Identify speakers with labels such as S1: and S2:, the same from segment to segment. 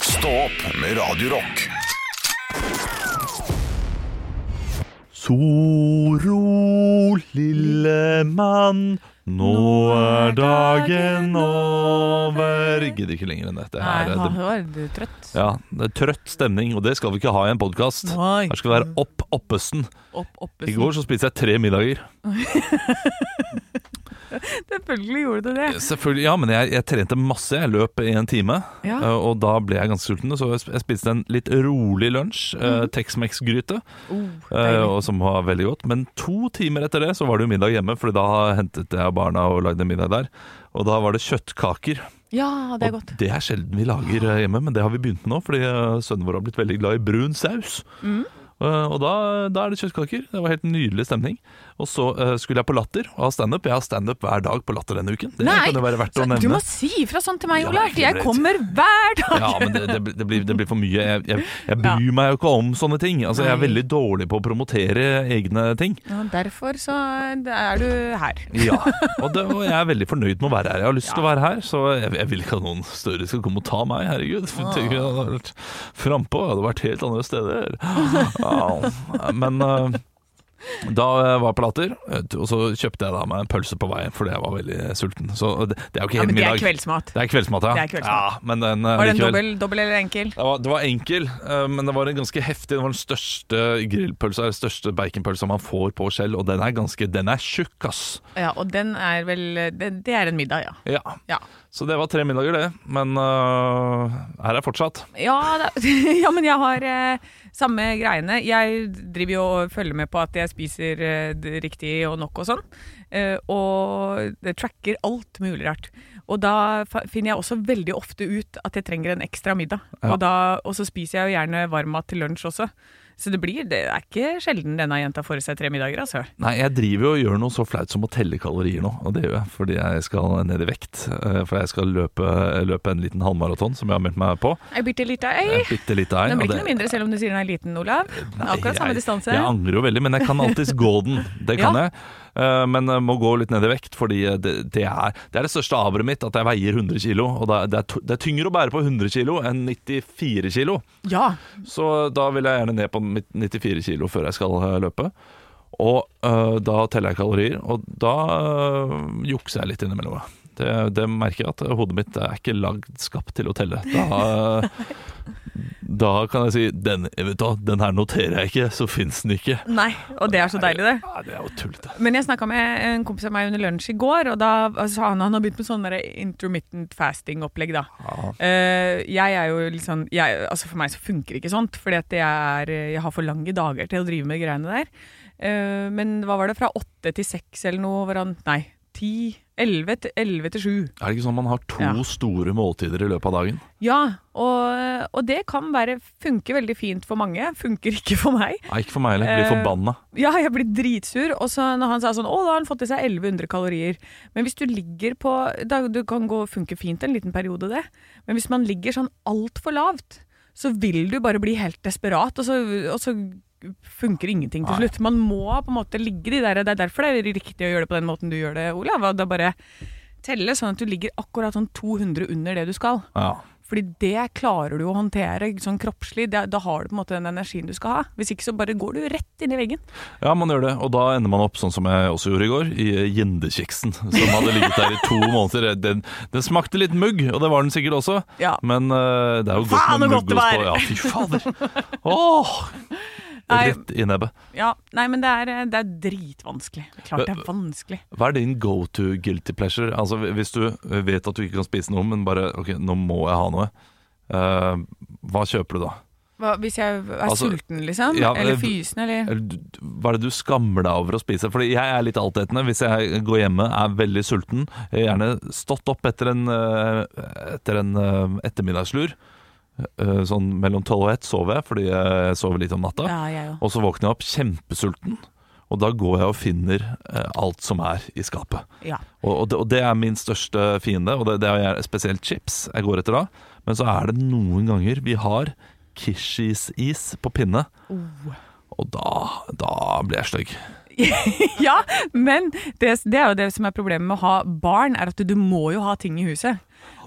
S1: Stå opp med Radio Rock.
S2: Soro, lille mann, nå er dagen over. Jeg gidder ikke lenger enn dette.
S3: Nei,
S2: Her
S3: nå
S2: er det,
S3: var du trøtt.
S2: ja, det er trøtt stemning, og det skal vi ikke ha i en podkast.
S3: Nei.
S2: Her skal vi være opp oppesen.
S3: Mm. Opp, oppe.
S2: I går så spiste jeg tre middager.
S3: Selvfølgelig gjorde du det.
S2: Selvfølgelig, ja, men jeg, jeg trente masse. Jeg løp i en time,
S3: Ja.
S2: eh, og da ble jeg ganske sulten. Så jeg sp- jeg spiste en litt rolig lunsj. eh, Tex-Mex-gryte.
S3: Oh,
S2: Eh,
S3: deilig.
S2: og som var veldig godt. Men to timer etter det så var det jo middag hjemme, Fordi da hentet jeg barna og lagde middag der. Og da var det kjøttkaker.
S3: ja, det er
S2: og
S3: godt.
S2: det er sjelden vi lager eh, hjemme, men det har vi begynt med nå, fordi eh, sønnen vår har blitt veldig glad i brun saus.
S3: Mm.
S2: Eh, Og da, da er det kjøttkaker. Det var helt nydelig stemning. Og så eh, skulle jeg på Latter og ha standup. Jeg har standup hver dag på Latter denne uken. Det
S3: Nei,
S2: kan jo være verdt å
S3: Så,
S2: nevne.
S3: du må si ifra sånn til meg,
S2: Ja,
S3: Olav.
S2: det er
S3: Jeg
S2: greit.
S3: kommer hver dag.
S2: Ja, men det, det, blir- det, blir, det blir for mye. Jeg, jeg, jeg bryr meg jo ikke om sånne ting. Altså, jeg er
S3: Nei.
S2: veldig dårlig på å promotere egne ting.
S3: Ja, derfor så eh, er du her.
S2: Ja, og, det, og jeg er veldig fornøyd med å være her. Jeg har lyst til å være her, så jeg, jeg vil ikke at noen større skal komme og ta meg. Herregud.
S3: Ah.
S2: For tenk om Jeg hadde vært frampå, jeg hadde vært helt andre steder. Ja, men eh, da jeg var på Latter, og så kjøpte jeg da meg en pølse på veien fordi jeg var veldig sulten. Så det, det er jo ikke
S3: Ja,
S2: helt
S3: men det er
S2: middag.
S3: kveldsmat.
S2: Det er kveldsmat, ja.
S3: Det er kveldsmat.
S2: ja men den, eh,
S3: Var den
S2: likevel-
S3: dobbel, dobbel eller enkel?
S2: det var, det var enkel, eh, men det var en ganske heftig. Det var den største grillpølsa, den største baconpølsa man får på skjell, og den er ganske Den er tjukk, ass.
S3: Ja, og den er vel eh, Det, det er en middag, ja.
S2: Ja.
S3: Ja,
S2: Så det var tre middager, det. Men øh, her er jeg fortsatt.
S3: ja, da, ja men jeg har eh, samme greiene. Jeg driver jo og følger med på at jeg spiser eh, det riktig og nok og sånn. Eh, og det tracker alt mulig rart. Og da fa- finner jeg også veldig ofte ut at jeg trenger en ekstra middag.
S2: Ja.
S3: Og, da, og så spiser jeg jo gjerne varmmat til lunsj også. Så det blir, det er ikke sjelden denne jenta får i seg tre middager, altså.
S2: Nei, jeg driver jo og gjør noe så flaut som å telle kalorier nå, og det gjør jeg fordi jeg skal ned i vekt. eh, For jeg skal løpe, løpe en liten halvmaraton som jeg har meldt meg på.
S3: Ei bitte lita ei.
S2: En bitte lite ei.
S3: Den
S2: og
S3: blir ikke
S2: det-
S3: noe mindre selv om du sier den er liten, Olav.
S2: Nei,
S3: Akkurat samme
S2: jeg-
S3: distanse.
S2: Jeg angrer jo veldig, men jeg kan alltids gå den. Det kan
S3: Ja.
S2: jeg. Eh, Men jeg må gå litt ned i vekt, fordi eh, det, det, er, det er det største aberet mitt, at jeg veier 100 kilo. Og det er, det er, to- det er tyngre å bære på 100 kilo enn 94 kilo.
S3: Ja,
S2: Så da vil jeg gjerne ned på mitt 94 kilo før jeg skal eh, løpe. Og eh, da teller jeg kalorier, og da eh, jukser jeg litt innimellom. ja. Det, det merker jeg at hodet mitt er ikke lagd skapt til å telle. Da, eh, da kan jeg si den, eh, vet du, hva, 'Den her noterer jeg ikke, så fins den ikke'.
S3: Nei, og det er så deilig, det.
S2: Ja, det er jo tullete.
S3: Men jeg snakka med en kompis av meg under lunsj i går, og da sa han han har begynt med sånn der intermittent fasting-opplegg, da.
S2: Ja.
S3: Eh, jeg er jo litt sånn jeg, Altså For meg så funker ikke sånt, fordi at jeg, er, jeg har for lange dager til å drive med greiene der. Eh, men hva var det, fra åtte til seks eller noe? Var han, nei, ti? Elleve til, elleve til sju.
S2: Er det ikke sånn man har to
S3: Ja.
S2: store måltider i løpet av dagen?
S3: Ja, og, og det kan være funker veldig fint for mange, funker ikke for meg.
S2: Nei, ikke for meg heller. Blir
S3: Eh,
S2: forbanna.
S3: Ja, jeg blir dritsur. Og så når han sa sånn, å, da har han fått i seg 1100 kalorier. Men hvis du ligger på da, Du kan gå funke fint en liten periode, det. Men hvis man ligger sånn altfor lavt, så vil du bare bli helt desperat, og så, og så funker ingenting til
S2: Nei.
S3: slutt. Man må på en måte ligge de der. Det er derfor det er riktig å gjøre det på den måten du gjør det, Olav. Og da bare telle sånn at du ligger akkurat sånn 200 under det du skal.
S2: Ja.
S3: Fordi det klarer du å håndtere sånn kroppslig. Det, da har du på en måte den energien du skal ha. Hvis ikke så bare går du rett inn i veggen.
S2: Ja, man gjør det, og da ender man opp sånn som jeg også gjorde i går, i gjendekjeksen. Som hadde ligget der i to måneder. Eh, Den, den smakte litt mugg, og det var den sikkert også.
S3: Ja.
S2: Men eh, det er jo godt
S3: Faen,
S2: med
S3: så godt det
S2: muggost på.
S3: var!
S2: Ja, fy fader. Åh!
S3: Nei.
S2: Rett i nebbet.
S3: Ja, nei, men det er, eh, det er dritvanskelig. Det er klart det er vanskelig.
S2: Hva er din go to guilty pleasure? Altså Hvis du vet at du ikke kan spise noe, men bare OK, nå må jeg ha noe. Eh, hva kjøper du da?
S3: Hva, hvis jeg er
S2: Altså,
S3: sulten, liksom?
S2: ja,
S3: eller
S2: eh,
S3: fysen, eller
S2: Eller du- Hva er det du skammer deg over å spise? Fordi jeg er litt altetende. Hvis jeg går hjemme, er veldig sulten, jeg har gjerne stått opp etter en, eh, etter en eh, ettermiddagslur. Eh, Sånn mellom tolv og ett sover jeg, fordi jeg sover litt om natta.
S3: Ja, jeg òg.
S2: Og så våkner jeg opp kjempesulten, og da går jeg og finner eh, alt som er i skapet.
S3: Ja.
S2: Og, og, det, og det er min største fiende, og det, det er jeg- spesielt chips jeg går etter da. Men så er det noen ganger vi har kishis-is på pinne,
S3: Oh.
S2: og da, da blir jeg stygg.
S3: ja, men det, det er jo det som er problemet med å ha barn, er at du, du må jo ha ting i huset.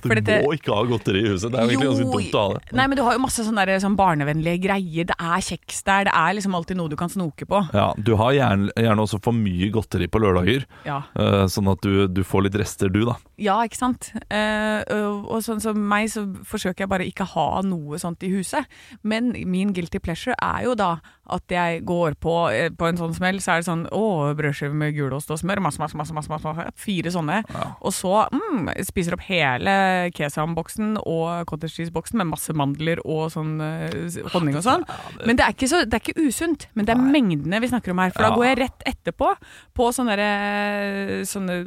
S2: Du
S3: For dette-
S2: må ikke ha godteri i huset. Det er jo egentlig ganske dumt å ha det.
S3: Nei, men du har jo masse sånne, der, sånn barnevennlige greier. Det er kjeks der. Det er liksom alltid noe du kan snoke på.
S2: Ja, Du har gjerne, gjerne også for mye godteri på lørdager,
S3: Ja,
S2: eh, sånn at du, du får litt rester, du, da.
S3: ja ikke sant? Eh, og og sånn som meg, så forsøker jeg bare ikke ha noe sånt i huset. Men min guilty pleasure er jo da at jeg går på, eh, på en sånn smell, så er det sånn Å, brødskive med gulost og smør. Masse, masse, masse. masse, masse, masse Fire sånne. Og så mm, spiser opp hele kesamboksen og cottage cheese-boksen med masse mandler og sånn eh, honning og sånn. Men det er ikke, så, det er ikke usunt, men det er mengdene vi snakker om her. For
S2: Ja.
S3: da går jeg rett etterpå på sånne, der, sånne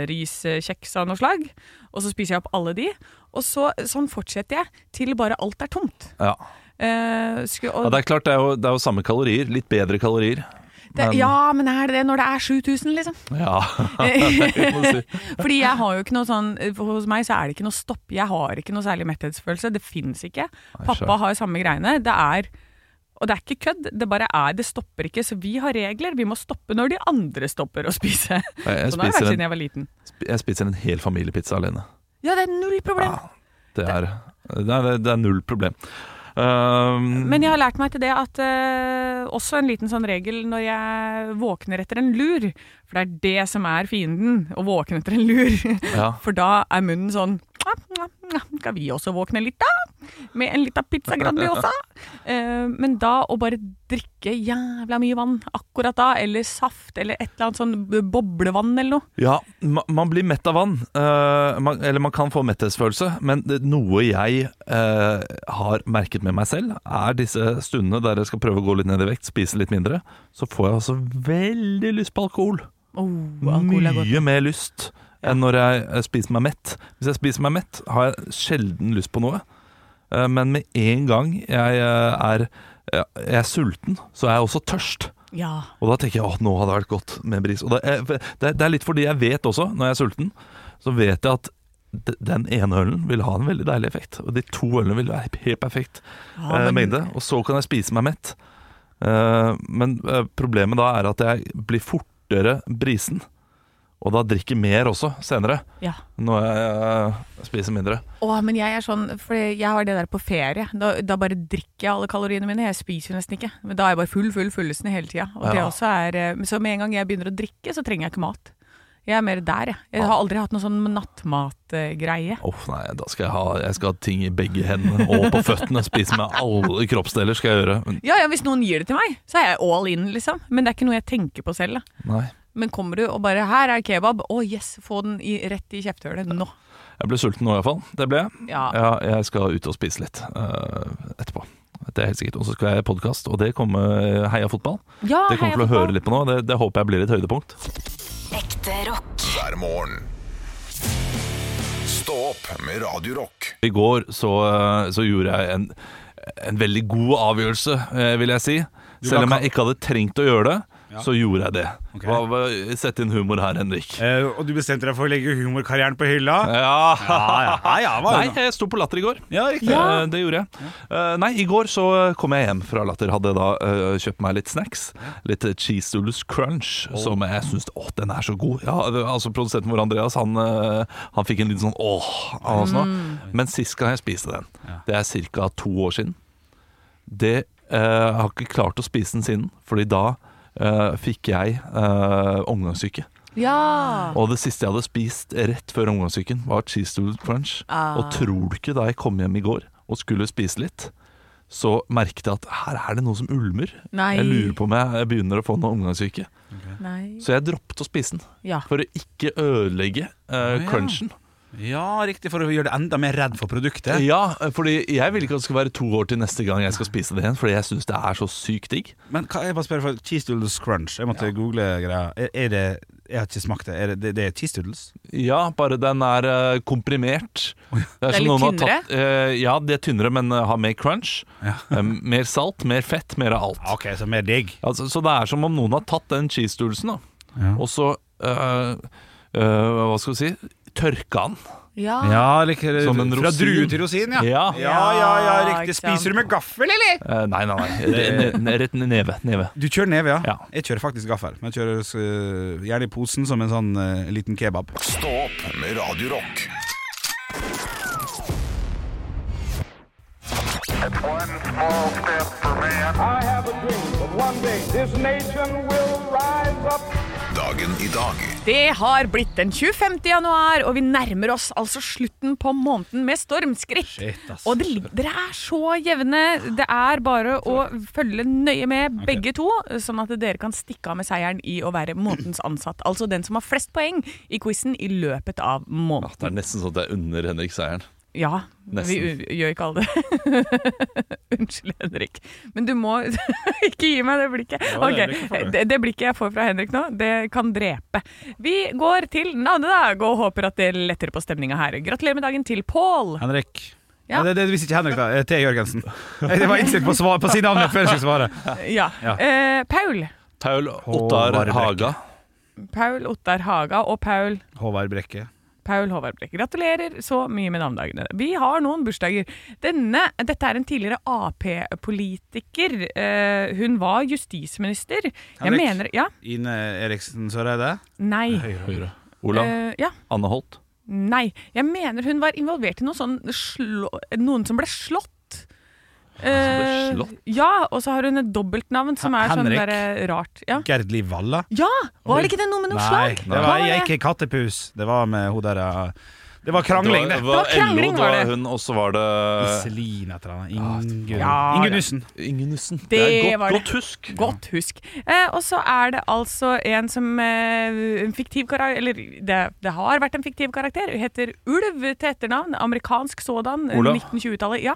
S3: osteriskjeks av noe slag. Og så spiser jeg opp alle de. Og så, sånn fortsetter jeg til bare alt er tomt.
S2: Ja,
S3: Eh, skulle, og,
S2: ja Det er klart, det er, jo, det er jo samme kalorier. Litt bedre kalorier. men-
S3: det, ja, men er det det når det er 7000, liksom?
S2: Ja, det kan man si.
S3: Fordi jeg har jo ikke noe sånn for Hos meg så er det ikke noe stopp. Jeg har ikke noe særlig metthetsfølelse. Det fins ikke. Pappa
S2: skjønner.
S3: har samme greiene. Det er Og det er ikke kødd. Det bare er Det stopper ikke. Så vi har regler. Vi må stoppe når de andre stopper å spise.
S2: Jeg, jeg,
S3: Sånn har det vært
S2: spiser
S3: siden
S2: en,
S3: jeg var liten.
S2: jeg spiser en hel familiepizza alene.
S3: Ja, det er null problem.
S2: Ah. Det er, det er, det er null problem. Um,
S3: Men jeg har lært meg til det at eh, også en liten sånn regel når jeg våkner etter en lur For det er det som er fienden, å våkne etter en lur.
S2: ja.
S3: For da er munnen sånn «Mja, mja, mja, Skal vi også våkne litt, da? Med en lita pizza grandiosa? Eh, men da å bare drikke jævla mye vann akkurat da, eller saft, eller et eller annet sånn b- boblevann eller noe.
S2: Ja, ma- man blir mett av vann. eh, man, eller man kan få metthetsfølelse. Men det, noe jeg eh, har merket med meg selv, er disse stundene der jeg skal prøve å gå litt ned i vekt, spise litt mindre, så får jeg altså veldig lyst på alkohol.
S3: Oh, alkohol er godt.
S2: Mye mer lyst enn når jeg eh, spiser meg mett. Hvis jeg spiser meg mett, har jeg sjelden lyst på noe. Eh, men med en gang jeg eh, er, ja, jeg er sulten, så er jeg også tørst.
S3: Ja.
S2: Og da tenker jeg at nå hadde det vært godt med bris. Og det er, det er- det er litt fordi jeg vet også, når jeg er sulten, så vet jeg at d- den ene ølen vil ha en veldig deilig effekt. Og de to ølene vil være helt perfekt
S3: Ja,
S2: eh,
S3: Ah, men-
S2: mengde. Og så kan jeg spise meg mett. Eh, men eh, problemet da er at jeg blir fortere brisen. Og da drikker mer også senere,
S3: Ja.
S2: når jeg eh, spiser mindre.
S3: Å, men jeg er sånn, for jeg har det der på ferie. Da, da bare drikker jeg alle kaloriene mine. Jeg spiser jo nesten ikke. Men da er jeg bare full, full, fullesen hele tida. Og det
S2: Ja.
S3: også er eh, Så med en gang jeg begynner å drikke, så trenger jeg ikke mat. Jeg er mer der, jeg. Jeg har aldri hatt noen sånn nattmatgreie.
S2: Åh, nei, da skal jeg, ha, jeg skal ha ting i begge hendene og på føttene. Spise med alle kroppsdeler skal jeg gjøre.
S3: Ja, ja, hvis noen gir det til meg, så er jeg all in, liksom. Men det er ikke noe jeg tenker på selv. da.
S2: Nei.
S3: Men kommer du og bare 'her er kebab', å yes, få den i, rett i kjeftehølet nå.
S2: Jeg ble sulten nå iallfall. Det ble jeg.
S3: Ja.
S2: Ja, jeg skal ut og spise litt eh, etterpå. Det er helt sikkert. Og så skal jeg i podkast, og det kommer eh, Heia fotball.
S3: ja
S2: Det kommer til å høre litt på nå. Det, det håper jeg blir et høydepunkt.
S4: Ekte rock.
S1: hver morgen. Stå opp med Radio Rock.
S2: I går så, eh, så gjorde jeg en, en veldig god avgjørelse, eh, vil jeg si. Selv om jeg ikke hadde trengt å gjøre det, så gjorde jeg det.
S5: Ok.
S2: Hva- hva- Sett inn humor her, Henrik.
S5: Eh, og du bestemte deg for å legge humorkarrieren på hylla?
S2: Ja,
S5: ja, ja, ja, hva er det
S2: Nei, jeg sto på Latter i går.
S5: Ja, riktig.
S2: Eh, Det gjorde jeg. Eh, Nei, i går så kom jeg hjem fra Latter. Hadde da eh, kjøpt meg litt snacks. Litt eh, cheese doodles crunch, som jeg syns Å, den er så god. Ja, det- altså Produsenten vår Andreas, han, eh, han fikk en liten sånn åh av oss nå.
S5: Mm.
S2: Men sist gang jeg spiste den, det er ca. to år siden. Det eh, jeg har ikke klart å spise den siden, fordi da eh, fikk jeg eh, omgangssyke.
S3: Ja.
S2: Og det siste jeg hadde spist rett før omgangssyken, var cheese doodle crunch.
S3: Ah.
S2: Og tror du ikke da jeg kom hjem i går og skulle spise litt, så merket jeg at her er det noe som ulmer.
S3: Nei.
S2: Jeg lurer på om jeg begynner å få noe omgangssyke.
S3: Ah, Nei.
S2: Så jeg droppet å spise den,
S3: Ja.
S2: for å ikke ødelegge eh,
S5: ja.
S2: crunchen.
S5: ja, riktig, for å gjøre det enda mer redd for produktet.
S2: Ja, fordi jeg vil ikke at det skal være to år til neste gang jeg skal spise det igjen, fordi jeg syns det er så sykt digg.
S5: Men hva, jeg bare spør for cheese doodles crunch. Jeg måtte google greia. Er, er det Jeg har ikke smakt det. Er det, det, det er cheese doodles?
S2: Ja, bare den er eh, komprimert. Det
S3: Det er
S2: som
S3: litt
S2: noen har Tatt, eh, ja, det er tynnere, men eh, har mer crunch. Eh, mer salt, mer fett, mer av alt.
S5: Ja, Ah, OK, så mer digg.
S2: Altså, så det er som om noen har tatt den cheese-doodlesen, da.
S5: Ja.
S2: Og så øh, øh, Hva skal vi si? Tørka den.
S3: Ja.
S5: Ja, like,
S2: Ah. Som en
S5: Fra
S2: rosin.
S5: drue til rosin, ja.
S2: Ja.
S5: ja, ja, ja
S3: ikke
S5: riktig.
S3: sant.
S5: Spiser du med gaffel, eller?
S2: Eh, nei, nei, nei. Re- ne- Rett ned i neve. neve.
S5: Du kjører neve, ja.
S2: Ja.
S5: Jeg kjører faktisk gaffel. Men jeg kjører eh, øh, gjerne i posen som en sånn øh, liten eh, kebab.
S1: Stå opp med Radio Rock.
S6: One small step for man.
S7: I have a dream that one day this nation will rise up.
S1: Dagen i dag
S3: Det har blitt den 25. januar, og vi nærmer oss altså slutten på måneden med stormskritt. og det, lig- dere er så jevne. Det er bare å følge nøye med, begge to, sånn at dere kan stikke av med seieren i å være månedens ansatt. Altså den som har flest poeng i quizen i løpet av måneden.
S2: Det er nesten sånn at jeg unner Henrik seieren.
S3: Ja, vi
S2: Nesten.
S3: u- gjør ikke alle det. Unnskyld, Henrik. Men du må ikke gi meg det blikket.
S5: Ja,
S3: Ok,
S5: det blikket får du.
S3: det, det blikket jeg får fra Henrik nå, det kan drepe. Vi går til navnedag og håper at det letter på stemninga her. Gratulerer med dagen til Pål.
S5: Henrik.
S3: Ja.
S5: Nei, det, det visste ikke Henrik, da. Eh, T. Jørgensen. Jeg var innstilt på å svare- på å si navnet før jeg skulle svare.
S3: Ja.
S5: Ja.
S3: Eh, Paul.
S2: Paul Ottar
S5: Håvard Brekke.
S2: Haga.
S3: Paul Ottar Haga og Paul
S5: Håvard Brekke.
S3: Paul Håvard Brekk. Gratulerer så mye med navnedagene. Vi har noen bursdager. Denne, dette er en tidligere Ap-politiker. Eh, hun var justisminister. Jeg
S5: Henrik.
S3: mener Ja?
S5: Ine Eriksen Søreide.
S3: Nei.
S2: Høyre. Olav
S3: Eh, ja.
S2: Anne Holt.
S3: Nei. Jeg mener hun var involvert i noe sånn slå, noen som ble slått. Eh,
S2: slått?
S3: ja, og så har hun et dobbeltnavn som
S5: Hen-
S3: er sånn
S5: Henrik?
S3: derre rart. Ja.
S5: Gerd Liv Valla.
S3: ja! Var det ikke det noe med noe
S5: Nei,
S3: slag?
S5: det
S3: Hva var
S5: var
S3: det?
S5: ikke kattepus. Det var med hun der eh, Det var krangling, det.
S2: Det var,
S3: Det var krangling,
S2: LO, det
S3: var
S2: var
S3: det.
S2: hun, og så var det
S5: Iselin et eller annet. Ingunn
S3: Ja,
S5: Ingunn
S3: ja.
S5: Nussen.
S2: Ingenussen. Det,
S3: Det
S2: er
S3: var
S2: godt,
S3: det.
S2: godt husk.
S3: Godt husk. Eh, og så er det altså en som eh, En fiktiv karakter Eller det, det har vært en fiktiv karakter. Heter Ulv til etternavn. Amerikansk sådan. eh,
S2: Olav.
S3: 1920-tallet. Ja.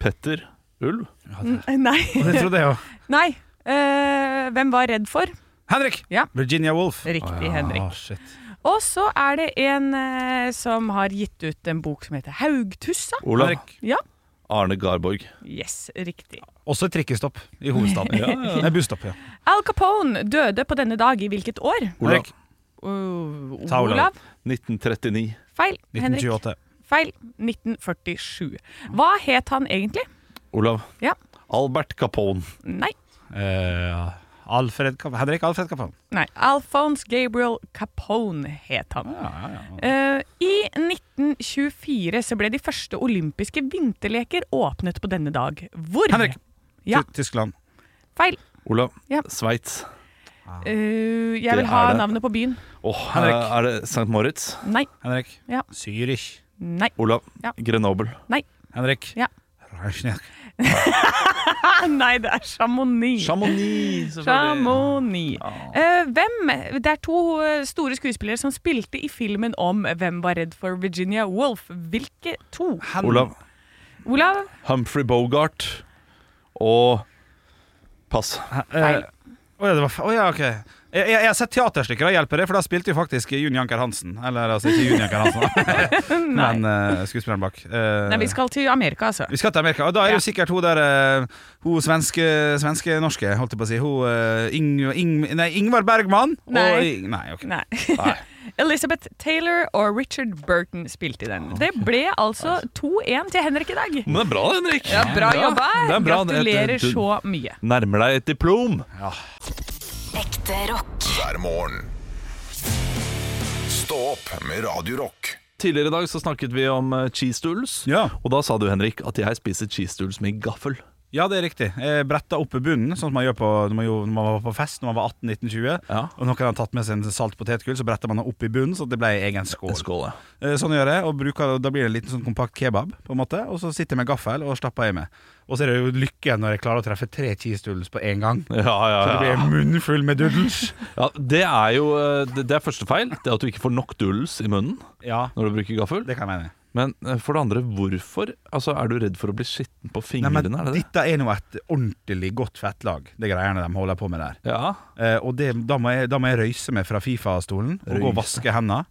S2: Petter Ulv.
S3: Nei.
S5: Det trodde jeg jo.
S3: Nei. Eh, hvem var redd for?
S5: Henrik!
S3: Ja.
S5: Virginia Woolf.
S3: Riktig,
S5: Å, ja.
S3: Henrik.
S5: Å, shit.
S3: Og så er det en eh, som har gitt ut en bok som heter Haugtussa.
S2: Olav
S5: Henrik.
S3: Ja.
S2: Arne Garborg.
S3: Yes, riktig.
S5: Også et trikkestopp i hovedstaden. Nei, busstopp, ja.
S3: Al Capone døde på denne dag i hvilket år?
S2: Olav.
S5: Henrik.
S3: Uh,
S5: Ta Olav.
S2: 1939.
S3: Feil. Henrik.
S5: 1928.
S3: Feil. 1947. Hva het han egentlig?
S2: Olav.
S3: Ja.
S2: Albert Capone.
S3: Nei.
S5: Eh, Alfred Kapp- Henrik Alfred Kappan.
S3: Nei, Alphonse Gabriel Capone het han. Eh, I 1924 så ble de første olympiske vinterleker åpnet på denne dag. Hvor?
S5: Henrik.
S3: Ja,
S5: Ty- Tyskland.
S3: feil.
S2: Olav.
S3: Ja.
S2: Sveits.
S3: Eh, jeg
S2: Ah. Det
S3: vil ha
S2: er det.
S3: navnet på byen.
S2: Åh,
S5: Henrik.
S2: eh, Er det St. Moritz?
S3: Nei,
S5: Henrik.
S3: Ja.
S5: Zürich.
S3: nei,
S2: Olav.
S3: Ja.
S2: Grenoble.
S3: nei.
S5: Henrik.
S3: Ja.
S5: Reichenau.
S3: Ah, nei, det er Chamonix.
S2: Chamonix,
S3: Chamonix. Eh, hvem Det er to eh, store skuespillere som spilte i filmen om Hvem var redd for Virginia Woolf. Hvilke to?
S5: Hen-
S2: Olav.
S3: Olav?
S2: Humphrey Bogart. Og Pass.
S3: Feil.
S5: Eh, Å ja, det var fe- å ja, ok. Jeg, jeg, jeg har sett teaterstykker, det hjelper det, for da spilte jo faktisk Jun Janker Hansen. Eller altså ikke Jun Janker Hansen, da. men eh, skuespilleren bak. Eh,
S3: Nei, vi skal til Amerika, altså.
S5: vi skal til Amerika, og da er det jo sikkert hun der eh, Hun svenske, svenske norske, holdt jeg på å si. Hun eh, Ing, Ing, nei, Ingvar Bergman.
S3: Nei.
S5: Og, nei, ok.
S3: Nei. Elizabeth Taylor og Richard Burton spilte i den. Det ble altså 2-1 til Henrik i dag.
S2: Men det er bra, Henrik.
S3: Ja, bra jobba.
S2: Det er bra.
S3: Gratulerer
S2: Det- det-
S3: så mye.
S2: Nærmer deg et diplom.
S4: Ekte rock.
S1: hver morgen. Stå opp med Radio Rock.
S2: Tidligere i dag så snakket vi om eh, cheese doodles.
S5: Ja.
S2: Og da sa du, Henrik, at jeg spiser cheese doodles med gaffel.
S5: Ja, det er riktig. Jeg bretta opp i bunnen, sånn som man gjør på, når, man, gjorde- når man var på fest når man var 18-19-20.
S2: Ja.
S5: Og noen hadde tatt med seg en salt potetgull, så bretta man det opp i bunnen, så det ble en egen skål.
S2: Skål, ja.
S5: Eh, Sånn gjør jeg, og bruker, da blir det en liten sånn kompakt kebab, på en måte. Og så sitter jeg med gaffel og slapper i meg. Og så er det jo lykke når jeg klarer å treffe tre cheese doodles på én gang.
S2: Ja, ja,
S5: Så det blir
S2: ja.
S5: en munnfull med doodles.
S2: ja det er jo eh, det, det er første feil. Det er at du ikke får nok doodles i munnen
S5: Ja,
S2: når du bruker gaffel.
S5: det kan jeg mene.
S2: Men eh, for det andre, hvorfor? Altså, Er du redd for å bli skitten på
S5: Nei,
S2: fingrene?
S5: men
S2: er det det?
S5: dette er nå et ordentlig godt fettlag, det greiene de holder på med der.
S2: Ja.
S5: Eh, og det, da, må jeg, da må jeg røyse meg fra Fifa-stolen og gå og vaske hendene.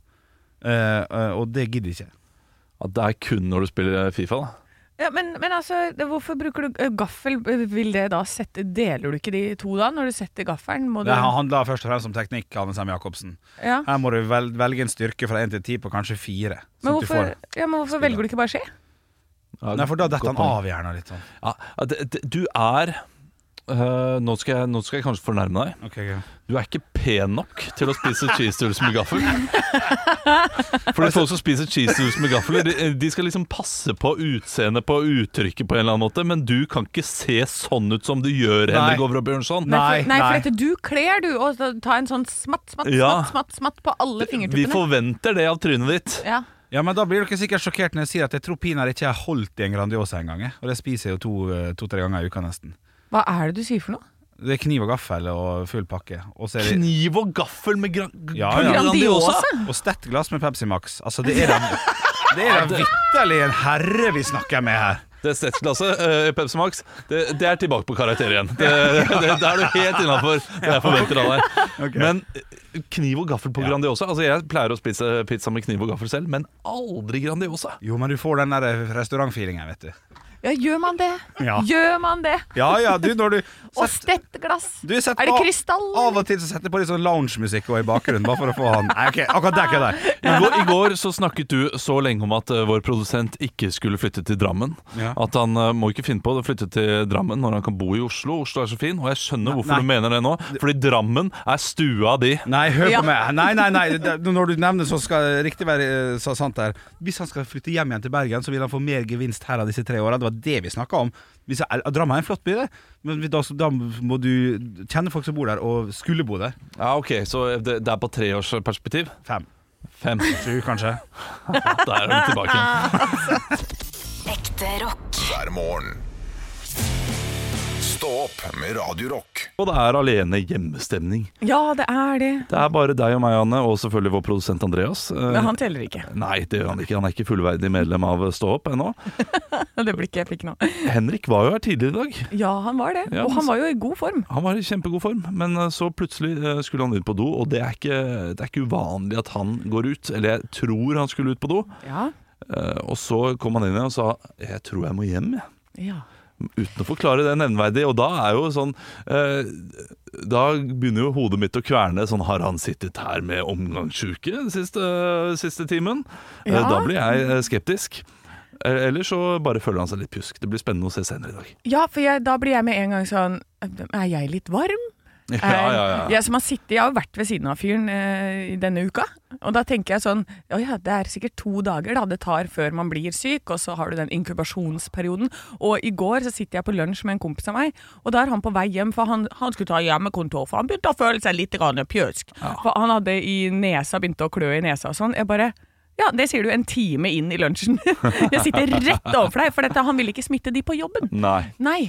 S5: Eh, eh, og det gidder jeg ikke.
S2: At det er kun når du spiller eh, Fifa, da.
S3: Ja, men, men altså, det- hvorfor bruker du eh, gaffel? Vil det da sette, deler du ikke de to da, når du setter gaffelen? Må du,
S5: Det handler først og fremst om teknikk. Hanne Sem Jacobsen
S3: ja.
S5: Her må du vel, velge en styrke fra én til ti på kanskje fire.
S3: Men
S5: sånn at du
S3: hvorfor,
S5: får-
S3: ja, men hvorfor velger du ikke bare skje?
S2: Ja,
S5: Nei, for da
S2: godt
S5: detter han
S2: poeng.
S5: av gjerne litt sånn.
S2: Ja, ja, det, det, du er eh, nå, skal jeg, nå skal jeg kanskje fornærme deg.
S5: Ok, ok.
S2: Du er ikke pen nok til å spise cheese doodles med gaffel. Fordi folk som spiser cheese doodles med gaffel, de, de skal liksom passe på utseendet på uttrykket på en eller annen måte, men du kan ikke se sånn ut som du gjør,
S5: Nei.
S2: Henrik Over og Bjørnson.
S5: Nei,
S3: for, nei,
S5: nei.
S3: for dette, du kler, du, og så ta en sånn smatt, smatt,
S2: Ja.
S3: smatt, smatt, smatt på alle
S2: Vi
S3: fingertuppene.
S2: forventer det av trynet ditt.
S3: Ja.
S5: Ja, men Da blir dere sikkert sjokkert når jeg sier at jeg tror pinadø ikke jeg har holdt i en Grandiosa engang. jeg. Og det spiser jeg jo eh, to-tre ganger i uka, nesten.
S3: Hva er det du sier for noe?
S5: Det er kniv og gaffel og full pakke. Og, så er det,
S2: Kniv og gaffel med gran
S5: Ja, ja.
S2: Grandiosa.
S5: og stett glass med Pepsi Max. Altså, det er da det er da vitterlig en herre vi snakker med her.
S2: Det Stetsglasset uh, Pepsi Max, det, det er tilbake på karakter igjen. Det, det, det er du helt innafor. Det jeg forventer av deg. Men eh, kniv og gaffel på Grandiosa Altså Jeg pleier å spise pizza med kniv og gaffel selv, men aldri Grandiosa.
S5: Jo, men du får den der eh, restaurantfeelingen, vet du.
S3: Ja, gjør man det?
S5: Ja.
S3: Gjør man det?
S5: Ja ja, du, når du
S3: Og
S5: sett-
S3: stettglass?
S5: du sett
S3: er det
S5: på-
S3: krystall?
S5: Av og til så setter jeg på litt sånn loungemusikk også i bakgrunnen, bare for å få han Nei, ok, akkurat der kødder jeg.
S2: I går, I går så snakket du så lenge om at eh, vår produsent ikke skulle flytte til Drammen.
S5: Ja.
S2: At han eh, må ikke finne på å flytte til Drammen når han kan bo i Oslo. Oslo er så fin, og jeg skjønner hvorfor
S5: nei.
S2: du mener det nå. Fordi Drammen er stua di.
S5: Nei, hør
S3: Ja.
S5: på meg. Nei, nei, nei. det- Når du nevner så skal riktig være eh, så sant der. Hvis han skal flytte hjem igjen til Bergen, så vil han få mer gevinst her av disse tre åra. Det var det vi snakka om. Hvis jeg, eh, Drammen er en flott by, det. Men da, da må du kjenne folk som bor der, og skulle bo der.
S2: Ja, ok, Så det, det er på treårsperspektiv?
S5: Fem.
S2: Fem.
S5: Sju, kanskje.
S2: Der er vi tilbake. igjen.
S4: Ekte rock.
S1: hver morgen. Stå opp med Radio Rock.
S2: Og det er alene hjemmestemning.
S3: Ja, det er det.
S2: Det er bare deg og meg, Anne, og selvfølgelig vår produsent Andreas. Eh,
S3: Men han teller ikke.
S2: Nei, det gjør han ikke. Han er ikke fullverdig medlem av Stå opp ennå.
S3: Det blir ikke jeg fikk nå.
S2: Henrik var jo her tidligere i dag.
S3: Ja, han var det.
S2: Ja,
S3: Og
S2: men-
S3: han var jo i god form.
S2: Han var i kjempegod form, men eh, så plutselig eh, skulle han ut på do, og det er ikke, det er ikke uvanlig at han går ut. Eller jeg tror han skulle ut på do,
S3: Ja.
S2: eh, og så kom han inn igjen og sa 'jeg tror jeg må hjem', jeg.
S3: ja.
S2: Uten å forklare det nevnverdig. Og da er jo sånn eh, Da begynner jo hodet mitt å kverne. Sånn, har han sittet her med omgangssjuke den siste, siste timen? Eh,
S3: Ja.
S2: da blir jeg eh, skeptisk. Eh, Eller så bare føler han seg litt pjusk. Det blir spennende å se senere i dag.
S3: Ja, for jeg, da blir jeg med en gang sånn Er jeg litt varm?
S2: Ja, ja, ja.
S3: Jeg, som har sittet, jeg har jo vært ved siden av fyren eh, i denne uka, og da tenker jeg sånn Å ja, det er sikkert to dager da det tar før man blir syk, og så har du den inkubasjonsperioden. Og i går så sitter jeg på lunsj med en kompis av meg, og da er han på vei hjem, for han, han skulle ta hjemmekontor, for han begynte å føle seg litt grann pjøsk. For han hadde i nesa, begynte å klø i nesa og sånn. Jeg bare ja, det sier du en time inn i lunsjen. Jeg sitter rett overfor deg, for dette, han vil ikke smitte de på jobben.
S2: Nei.
S3: Nei.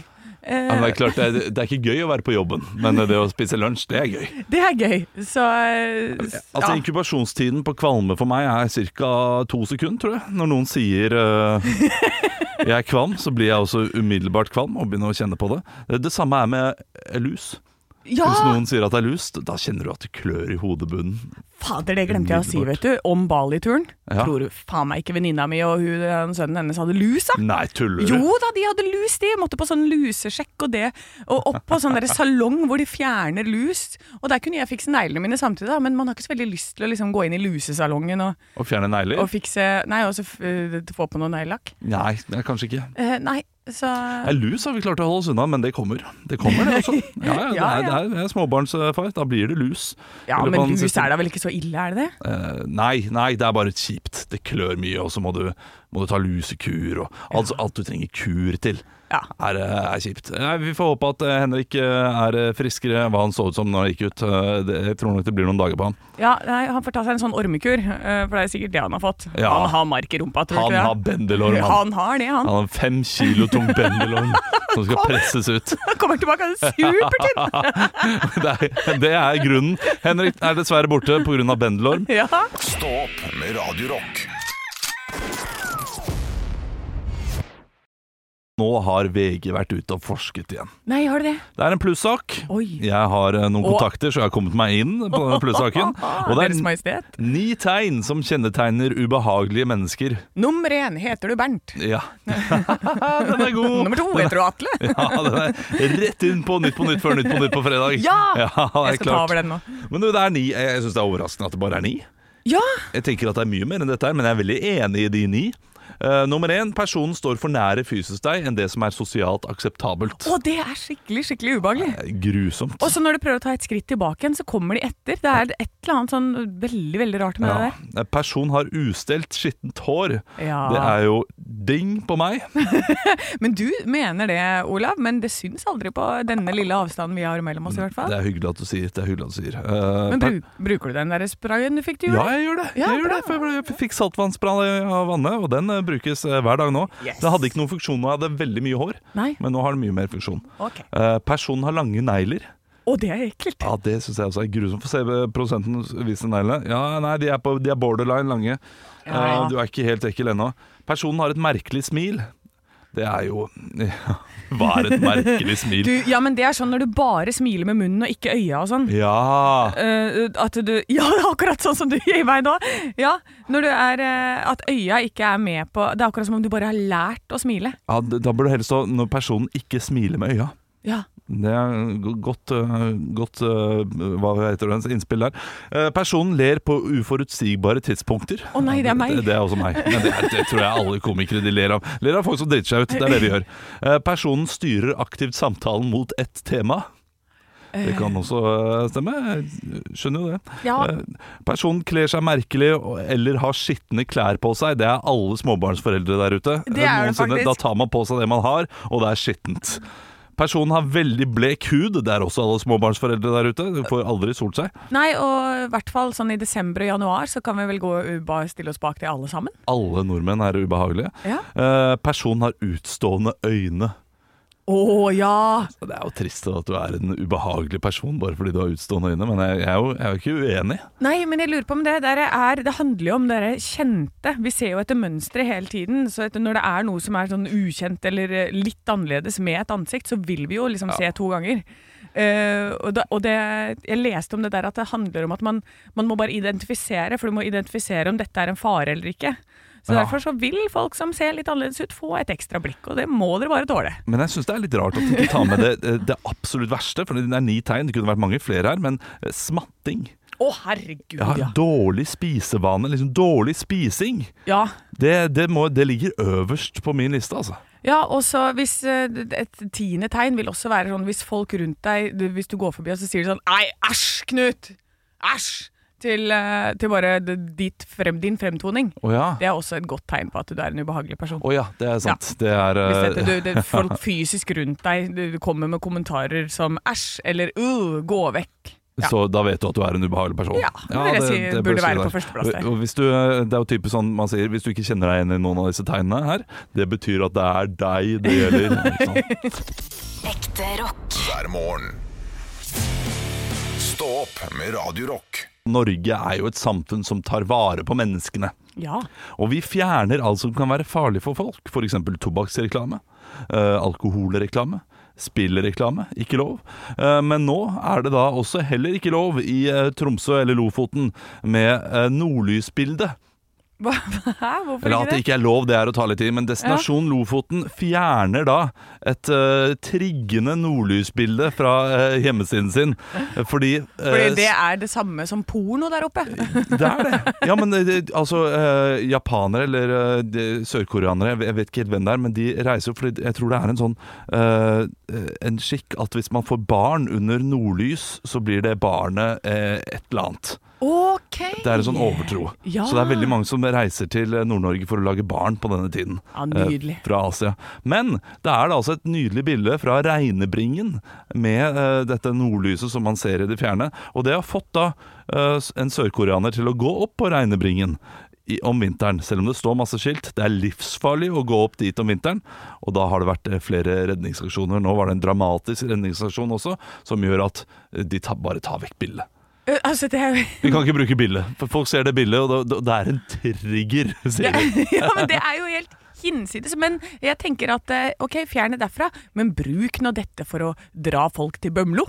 S3: Eh,
S2: Men det er klart, det er, det er ikke gøy å være på jobben, men det å spise lunsj, det er gøy.
S3: det er gøy. Så eh,
S2: Altså
S3: ja.
S2: Inkubasjonstiden på kvalme for meg er ca. to sekunder, tror jeg. Når noen sier eh, 'jeg er kvalm', så blir jeg også umiddelbart kvalm og begynner å kjenne på det. Det, det samme er med eh, lus.
S3: ja,
S2: Hvis noen sier at det er lus, da kjenner du at det klør i hodebunnen.
S3: fader, det glemte jeg å si, vet du. Om Bali-turen.
S2: Ja.
S3: Tror du faen meg ikke venninna mi og hun, den sønnen hennes hadde lus, da?
S2: Nei, tuller du?
S3: Jo da, de hadde lus, de. Måtte på sånn lusesjekk og det. Og opp på sånn der salong hvor de fjerner lus. Og der kunne jeg fikse neglene mine samtidig, da, men man har ikke så veldig lyst til å liksom gå inn i lusesalongen og,
S2: Å fjerne negler?
S3: og fikse Nei, og så eh, få på noe neglelakk.
S2: Nei, det er kanskje ikke.
S3: Eh, nei, så
S2: Nei, lus har vi klart å holde oss unna, men det kommer. Det kommer, det også. Ja, ja, det
S3: Ja,
S2: er, det er, det er småbarnsfar. Da blir det lus.
S3: Ja,
S2: Eller på
S3: men
S2: den
S3: lus
S2: siste-
S3: er da vel ikke så ille, er det det?
S2: Eh, nei, nei, det er bare kjipt. Det klør mye, og så må du, må du ta lusekur og altså, alt du trenger kur til.
S3: Ja.
S2: Er, eh, er kjipt. Nei, vi får håpe at eh, Henrik eh, er eh, friskere enn hva han så ut som når han gikk ut. Eh, det, jeg tror nok det blir noen dager på han.
S3: Ja, nei, Han får ta seg en sånn ormekur, eh, for det er sikkert det han har fått.
S2: Ja.
S3: Han har mark i rumpa, tror
S2: Han
S3: du ikke det?
S2: har bendelorm, han.
S3: Han har det, han.
S2: Han har en fem kilo tung bendelorm som skal presses ut.
S3: Han kommer tilbake han er supertynn!
S2: Det er, det er grunnen. Henrik er dessverre borte pga. bendelorm.
S3: Ja.
S1: Stå opp med Radio Rock
S2: Nå har VG vært ute og forsket igjen.
S3: Nei, har du det?
S2: Det er en plussak.
S3: Oi.
S2: Jeg har eh, noen
S3: Og-
S2: kontakter, så jeg har kommet meg inn på denne plussaken. Og det
S3: Deres
S2: er
S3: Majestet.
S2: ni tegn som kjennetegner ubehagelige mennesker.
S3: Nummer én heter du Bernt.
S2: Ja, den er god.
S3: Nummer to heter du Atle.
S2: Ja, den er rett inn på Nytt på Nytt før Nytt på Nytt på fredag.
S3: Ja!
S2: det er
S3: Jeg skal ta
S2: klart.
S3: over den nå.
S2: Men du, det er ni. Jeg syns det er overraskende at det bare er ni.
S3: Ja!
S2: Jeg tenker at det er mye mer enn dette her, men jeg er veldig enig i de ni. Eh, nummer én personen står for nære fysisk deg enn det som er sosialt akseptabelt.
S3: Å, det er skikkelig, skikkelig ubehagelig.
S2: Eh, Grusomt.
S3: Og så når du prøver å ta et skritt tilbake igjen, så kommer de etter. Det er et eller annet sånn veldig, veldig rart med
S2: Ja.
S3: det der.
S2: Eh, Person har ustelt, skittent hår.
S3: Ja.
S2: Det er jo ding på meg.
S3: Men du mener det, Olav, men det syns aldri på denne lille avstanden vi har mellom oss, i hvert fall.
S2: Det er hyggelig at du sier. Det er hyggelig at du sier. Eh,
S3: Men
S2: per-
S3: bru, bruker du den der sprayen du fikk til
S2: Ja,
S3: jul?
S2: jeg gjør det.
S3: Ja,
S2: jeg gjør
S3: bra.
S2: det For jeg ble- jeg fikk saltvannsbrann av vannet, og den eh, brukes eh, hver dag nå. Den hadde ikke noen funksjon da jeg hadde veldig mye hår,
S3: Nei.
S2: men nå har den mye mer funksjon.
S3: Ok.
S2: Eh, personen har lange negler.
S3: Å, det er ekkelt.
S2: Ja, Det syns jeg også er grusomt. Få se eh, prosenten vise neglene. Ja, nei, de er, på, de er borderline lange. Eh,
S3: Ja.
S2: du er ikke helt ekkel ennå. Personen har et merkelig smil. Det er jo ja, Hva er et merkelig smil?
S3: Du, ja, men det er sånn når du bare smiler med munnen og ikke øya og sånn.
S2: Ja
S3: Eh, at du Ja, det er akkurat sånn som du gir meg nå! Ja, når du er eh, At øya ikke er med på Det er akkurat som om du bare har lært å smile.
S2: Ja, d- Da burde det helst stå 'når personen ikke smiler med øya'.
S3: Ja.
S2: Det er go- godt, øh, godt øh, Hva heter det, innspill der. Eh, Personen ler på uforutsigbare tidspunkter.
S3: Å nei, det er meg.
S2: Det, det er også meg. Men det, er, det tror jeg alle komikere de ler av. Ler av folk som driter seg ut. Det er det vi gjør. Eh, Personen styrer aktivt samtalen mot ett tema. Det
S3: Eh.
S2: kan også øh, stemme. Jeg Skjønner jo det.
S3: Ja.
S2: Eh, Personen kler seg merkelig og- eller har skitne klær på seg. Det er alle småbarnsforeldre der ute.
S3: Det er det faktisk.
S2: Da tar man på seg det man har, og det er skittent. Personen har veldig blek hud. Det er også alle småbarnsforeldre der ute. De får aldri solt seg.
S3: Nei, og i hvert fall sånn i desember og januar så kan vi vel gå og bare stille oss bak det alle sammen.
S2: Alle nordmenn er ubehagelige.
S3: Ja.
S2: Eh, Personen har utstående øyne.
S3: Å ja!
S2: Så Det er jo trist at du er en ubehagelig person bare fordi du har utstående øyne, men jeg, jeg, er, jo, jeg er jo ikke uenig.
S3: Nei, men jeg lurer på om det der er Det handler jo om det der kjente. Vi ser jo etter mønstre hele tiden. Så etter, når det er noe som er sånn ukjent eller eh, litt annerledes med et ansikt, så vil vi jo liksom se to ganger. Eh, og da, og det, jeg leste om det der at det handler om at man, man må bare identifisere, for du må identifisere om dette er en fare eller ikke. Så
S2: Ja.
S3: derfor så vil folk som ser litt annerledes ut, få et ekstra blikk, og det må dere bare tåle.
S2: Men jeg syns det er litt rart at du ikke tar med det, eh, det absolutt verste. For det er ni tegn, det kunne vært mange flere her, men eh, smatting.
S3: Å, herregud,
S2: Ja,
S3: ja.
S2: Dårlig spisevane. Liksom dårlig spising.
S3: ja.
S2: Det, det, må, det ligger øverst på min liste, altså.
S3: Ja, og så hvis eh, Et tiende tegn vil også være sånn hvis folk rundt deg du- Hvis du går forbi og så sier de sånn Nei, æsj, Knut! Æsj! Til, eh, til bare d- ditt frem, din fremtoning.
S2: Å ja.
S3: Det er også et godt tegn på at du er en ubehagelig person.
S2: Å ja, det er sant. Det er
S3: Hvis
S2: eh,
S3: dette, du, det, folk fysisk rundt deg du kommer med kommentarer som æsj eller uh, gå vekk. Ja.
S2: Så da vet du at du er en ubehagelig person.
S3: Ja, det vil jeg si burde
S2: bør stå
S3: være på
S2: der.
S3: førsteplass der.
S2: Og hvis du, det er jo typisk sånn man sier hvis du ikke kjenner deg igjen i noen av disse tegnene her, det betyr at det er deg det gjelder. ikke sant?
S4: Ekte rock.
S1: hver morgen. Stå opp med Radio Rock.
S2: Norge er jo et samfunn som tar vare på menneskene.
S3: Ja.
S2: Og vi fjerner alt som kan være farlig for folk, f.eks. tobakksreklame, eh, alkoholreklame, spillreklame. Ikke lov. Eh, men nå er det da også heller ikke lov i eh, Tromsø eller Lofoten med eh, nordlysbilde.
S3: Hva, hæ? Hvorfor
S2: Eller at
S3: ikke
S2: det
S3: det?
S2: ikke er lov, det er å ta litt i, men Destinasjon Lofoten fjerner da et eh, triggende nordlysbilde fra eh, hjemmesiden sin, fordi eh,
S3: Fordi det er det samme som porno der oppe.
S2: det er det. Ja, men eh, det- altså eh, Japanere eller eh, de- sørkoreanere, jeg vet- jeg vet ikke helt hvem det er, men de reiser jo fordi jeg tror det er en sånn eh, eh, en skikk at hvis man får barn under nordlys, så blir det barnet eh, et eller annet.
S3: OK!
S2: Det er en sånn overtro.
S3: Ja.
S2: Så det er veldig mange som reiser til eh, Nord-Norge for å lage barn på denne tiden.
S3: Ja, nydelig.
S2: eh, Fra Asia. Men det er da altså et nydelig bilde fra Regnebringen med eh, dette nordlyset som man ser i det fjerne. Og det har fått da eh, s- en sørkoreaner til å gå opp på Regnebringen. I, om vinteren, selv om det står masse skilt. Det er livsfarlig å gå opp dit om vinteren. Og da har det vært eh, flere redningsaksjoner. Nå var det en dramatisk redningsaksjon også, som gjør at eh, de ta, bare tar vekk bildet.
S3: Eh, Altså, det er jo
S2: Vi kan ikke bruke bilde, for folk ser det bildet, og det, det- det er en trigger, sier de.
S3: ja, men det er jo helt hinsides. Men jeg tenker at eh, ok, fjern det derfra, men bruk nå dette for å dra folk til Bømlo.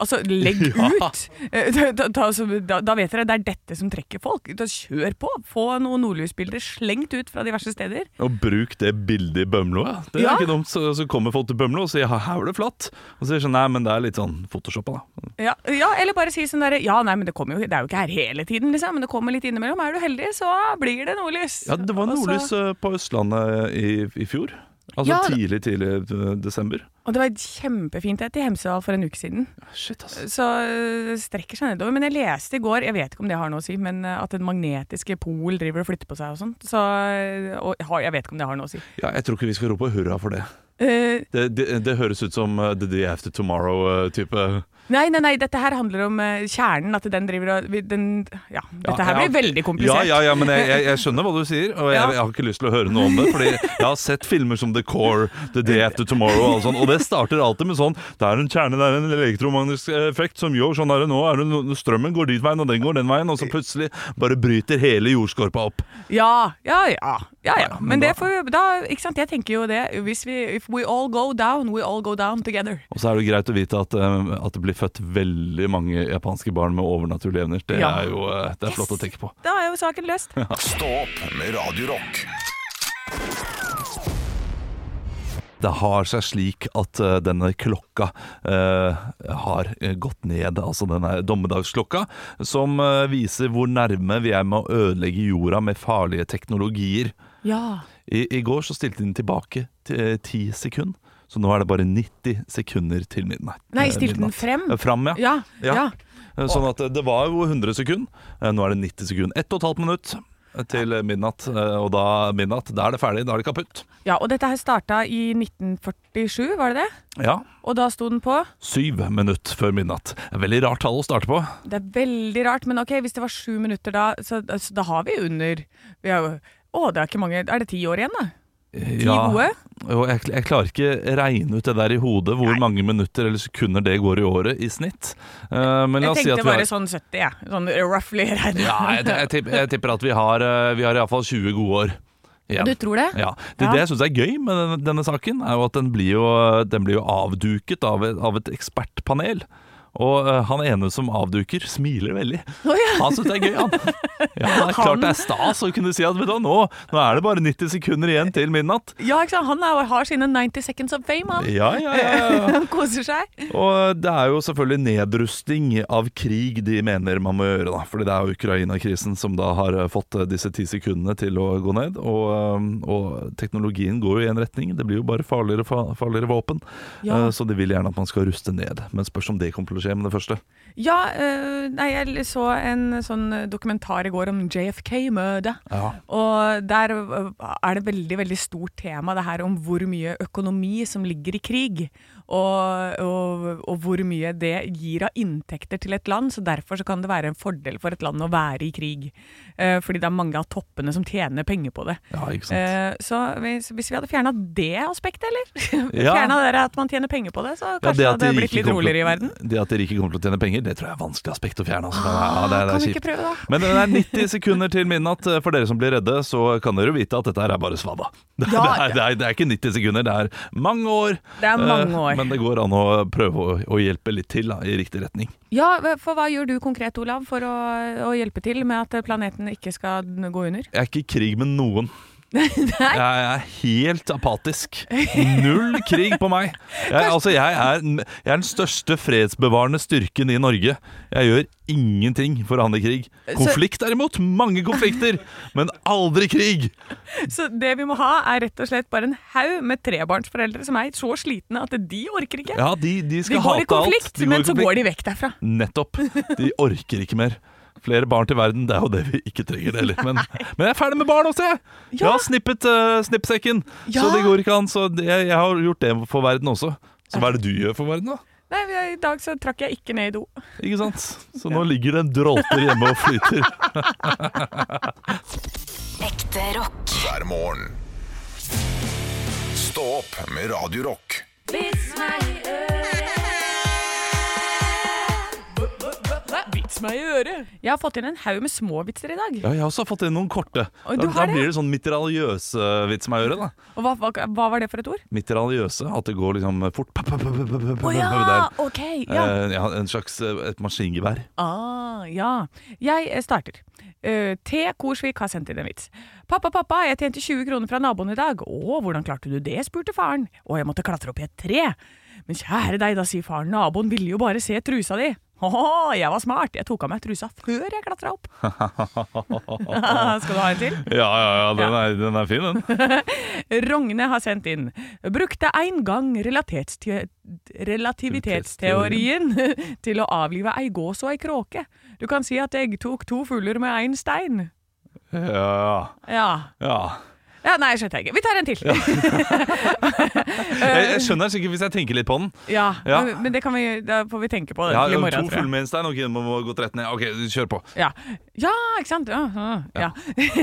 S3: Altså, legg
S2: Ja.
S3: ut! Eh, Da, da- da, så- da, da vet dere, det er dette som trekker folk. Da kjør på! Få noen nordlysbilder slengt ut fra diverse steder.
S2: Og bruk det bildet i Bømlo. Ja. Det er
S3: Ja.
S2: ikke dumt. Så, så kommer folk til Bømlo og sier "Ha, 'her var det flatt'. Og så sier de sånn 'nei, men det er litt sånn photoshoppa', da.
S3: Ja, ja, eller bare si sånn derre Ja, nei, men det kommer jo Det er jo ikke her hele tiden, liksom, men det kommer litt innimellom. Er du heldig, så blir det nordlys.
S2: Ja, det var
S3: Og så-
S2: nordlys eh, på Østlandet i, i fjor. Altså
S3: Altså- Ja, det-
S2: tidlig, tidlig eh, desember.
S3: Og det var kjempefint et i Hemsedal for en uke siden.
S2: Shit, ass.
S3: Så øh, strekker seg nedover. Men jeg leste i går, jeg vet ikke om det har noe å si, men øh, at den magnetiske pol driver og flytter på seg og sånt. Så øh, og, har- jeg vet ikke om det har noe å si.
S2: Ja, jeg tror ikke vi skal rope hurra for det.
S3: Eh,
S2: Det, det, det høres ut som eh, The Day After eh, Tomorrow-type.
S3: nei, nei, nei, dette her handler om øh, kjernen, at den driver og vi- den, Ja, dette her blir veldig komplisert.
S2: Ja, ja, ja, men jeg, jeg, jeg skjønner hva du sier, og jeg,
S3: Ja.
S2: jeg har ikke lyst til å høre noe om det. Fordi jeg har sett filmer som The Core, The Day After Tomorrow og alt sånt, og det starter alltid med sånn Det er en kjerne, det er en elektromagnetisk effekt som gjør sånn er det nå. Er det, no- strømmen går dit veien, og den går den veien, og så plutselig bare bryter hele jordskorpa opp.
S3: Ja, ja, ja. ja, ja.
S2: men
S3: Men det
S2: da-
S3: får jo da, ikke sant? Jeg tenker jo det. Hvis vi If we all go down, we all go down together.
S2: Og så er det greit å vite at, eh, at det blir født veldig mange japanske barn med overnaturlige evner. Det
S3: Ja.
S2: er jo eh, det er flott å tenke på.
S3: Da er jo saken løst.
S1: Stå opp med Radio Rock.
S2: det har seg slik at eh, denne klokka eh, har eh, gått ned, altså denne dommedagsklokka, som eh, viser hvor nærme vi er med å ødelegge jorda med farlige teknologier.
S3: Ja.
S2: I, i går så stilte den tilbake til eh, 10 sekunder, så nå er det bare 90 sekunder til midnatt.
S3: Nei,
S2: eh,
S3: stilte den
S2: midnatt.
S3: frem?
S2: Eh, Fram, ja.
S3: Ja.
S2: Ja.
S3: ja.
S2: Eh, Sånn at eh, det var jo 100 sekunder, eh, nå er det 90 sekunder. Ett og et halvt minutt til eh, midnatt, eh, og da midnatt, da er det ferdig, da er det kaputt.
S3: Ja, og dette her starta i 1947, var det det?
S2: Ja,
S3: Og da sto den på.
S2: Syv minutt før midnatt. Veldig rart tall å starte på.
S3: Det er veldig rart, men ok, hvis det var sju minutter da, så så da har vi under vi har, jo- Å, det er ikke mange Er det ti år igjen, da? Ti gode?
S2: Og jeg, jeg klarer ikke regne ut det der i hodet, hvor mange minutter eller sekunder det går i året i snitt. Eh, men la
S3: Jeg
S2: oss si at
S3: tenkte
S2: vi har
S3: bare sånn 70, jeg. Sånn roughly regnet.
S2: ja, jeg, jeg, tipper, jeg tipper at vi har, eh, vi har iallfall 20 gode år. igjen.
S3: Du tror det?
S2: Ja. Det,
S3: Ja.
S2: det jeg syns er gøy med denne, denne saken, er jo at den blir jo, den blir jo avduket av, et- av et ekspertpanel. Og eh, han ene som avduker, smiler veldig.
S3: Å, ja.
S2: Han syns det er gøy, han. Ja, det er klart det er stas å kunne si at vet du, hva, nå, nå er det bare 90 sekunder igjen til midnatt.
S3: ja, ikke sant? Han er, har sine 90 seconds of fame, han.
S2: Ja, ja, ja, ja.
S3: Han koser seg.
S2: Og det er jo selvfølgelig nedrusting av krig de mener man må gjøre, da. Fordi det er jo Ukraina-krisen som da har eh, fått disse ti sekundene til å gå ned. Og, eh, og teknologien går jo i en retning. Det blir jo bare farligere og farligere våpen.
S3: Ja.
S2: Eh, Så de vil gjerne at man skal ruste ned. Men spørs om det kommer til å skje med det første.
S3: Ja, øh, nei, jeg så en sånn dokumentar i går om JFK-møtet.
S2: Ja.
S3: Og der øh, er det veldig veldig stort tema det her om hvor mye økonomi som ligger i krig. Og, og, og hvor mye det gir av inntekter til et land. Så derfor så kan det være en fordel for et land å være i krig. Eh, fordi det er mange av toppene som tjener penger på det.
S2: Ja, ikke sant.
S3: Eh, så hvis, hvis vi hadde fjerna det aspektet, eller?
S2: Ja.
S3: Fjerna dere at man tjener penger på det, så
S2: Ja,
S3: kanskje det
S2: at de
S3: hadde
S2: rike
S3: blitt litt
S2: kommer til-
S3: roligere i verden. Ah,
S2: Det at de rike kommer til å tjene penger, det tror jeg er vanskelig aspekt å fjerne. Altså. Ja, det, det
S3: kan
S2: er
S3: vi
S2: kjipt.
S3: ikke prøve da?
S2: Men det er 90 sekunder til midnatt. Eh, For dere som blir redde, så kan dere jo vite at dette her er bare svada. Det, er-
S3: Ja,
S2: det, er, det, er, det er ikke 90 sekunder, det er mange år.
S3: Det er mange
S2: Eh,
S3: år.
S2: Men det går an å prøve å, å hjelpe litt til da, i riktig retning.
S3: Ja, for hva gjør du konkret, Olav, for å, å hjelpe til med at planeten ikke skal gå under?
S2: Jeg er ikke i krig med noen. Jeg er helt apatisk. Null krig på meg. Jeg, altså, jeg, er, jeg er den største fredsbevarende styrken i Norge. Jeg gjør ingenting for å handle i krig. Konflikt derimot, mange konflikter, men aldri krig.
S3: Så det vi må ha, er rett og slett bare en haug med trebarnsforeldre som er så slitne at de orker ikke.
S2: Ja, de, de
S3: de
S2: skal
S3: går i
S2: hate alt.
S3: konflikt, men så går de vekk derfra.
S2: Nettopp. De orker ikke mer. Flere barn til verden, det er jo det vi ikke trenger heller. Men, men jeg er ferdig med barn også, jeg! Jeg
S3: Ja.
S2: har snippet eh, snippsekken, så
S3: Ja.
S2: det går ikke an. Så det, jeg har gjort det for verden også. Så hva er det du gjør for verden, da?
S3: Nei, I dag så trakk jeg ikke ned i do.
S2: Ikke sant? Så nå ligger det en drolter hjemme og flyter.
S4: Ekte rock.
S1: hver morgen. Stå opp med Radio Rock.
S3: Vits
S8: meg i øret.
S3: Jeg har fått inn en haug med små vitser i dag.
S2: Ja, jeg har også fått inn noen korte.
S3: Oi,
S2: da,
S3: du
S2: da
S3: har det,
S2: blir det sånn mitraljøse-vits med øret. da
S3: Og hva, hva, hva var det for et ord?
S2: Mitraljøse, at det går liksom fort. Pa, pa, pa, pa, pa, pa,
S3: Å
S2: pa,
S3: ja!
S2: der.
S3: Ok. Ja.
S2: Eh, ja, en slags eh, et maskingevær.
S3: Ah, ja. Jeg eh, starter. Eh, T. Korsvik har sendt inn en vits. 'Pappa, pappa, jeg tjente 20 kroner fra naboen i dag.' 'Å, hvordan klarte du det?' spurte faren. 'Å, jeg måtte klatre opp i et tre.' 'Men kjære deg', da sier faren, 'naboen ville jo bare se trusa di'. Å, jeg var smart. Jeg tok av meg trusa før jeg klatra opp. Skal du ha en til?
S2: Ja, ja, ja, den er, den er fin, den.
S3: Rogne har sendt inn. Brukte en gang relatetstie- relativitetsteorien til å avlive ei gås og ei kråke. Du kan si at jeg tok to fugler med én stein.
S2: Ja,
S3: Ja.
S2: ja.
S3: ja nei, skjønte jeg ikke. Vi tar en til. Ja, Eh.
S2: Jeg, jeg skjønner den sikkert hvis jeg tenker litt på den. Ja.
S3: Men, men det kan vi, da får vi tenke på det
S2: Ja,
S3: til i
S2: to
S3: morgen. tror jeg.
S2: fullmenstein, ok, den må gå rett ned. Ok, kjør på.
S3: Ja. ja, ikke sant? Ja, ja. ja.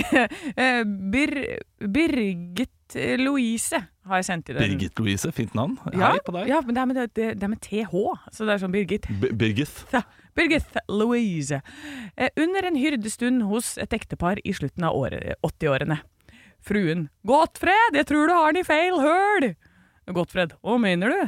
S3: Eh, Bir Birgit Louise har jeg sendt inn. en-
S2: Birgit Louise, fint navn.
S3: Ja,
S2: Hei på deg.
S3: ja, men det er, med, det, det er med TH, så det er sånn Birgit.
S2: B Birgit.
S3: Birgithe. Birgithe Louise. Eh, Under en hyrdestund hos et ektepar i slutten av året- 80-årene. Fruen. Gottfred, jeg tror du har den i feil høl! Gottfred. Hva mener du?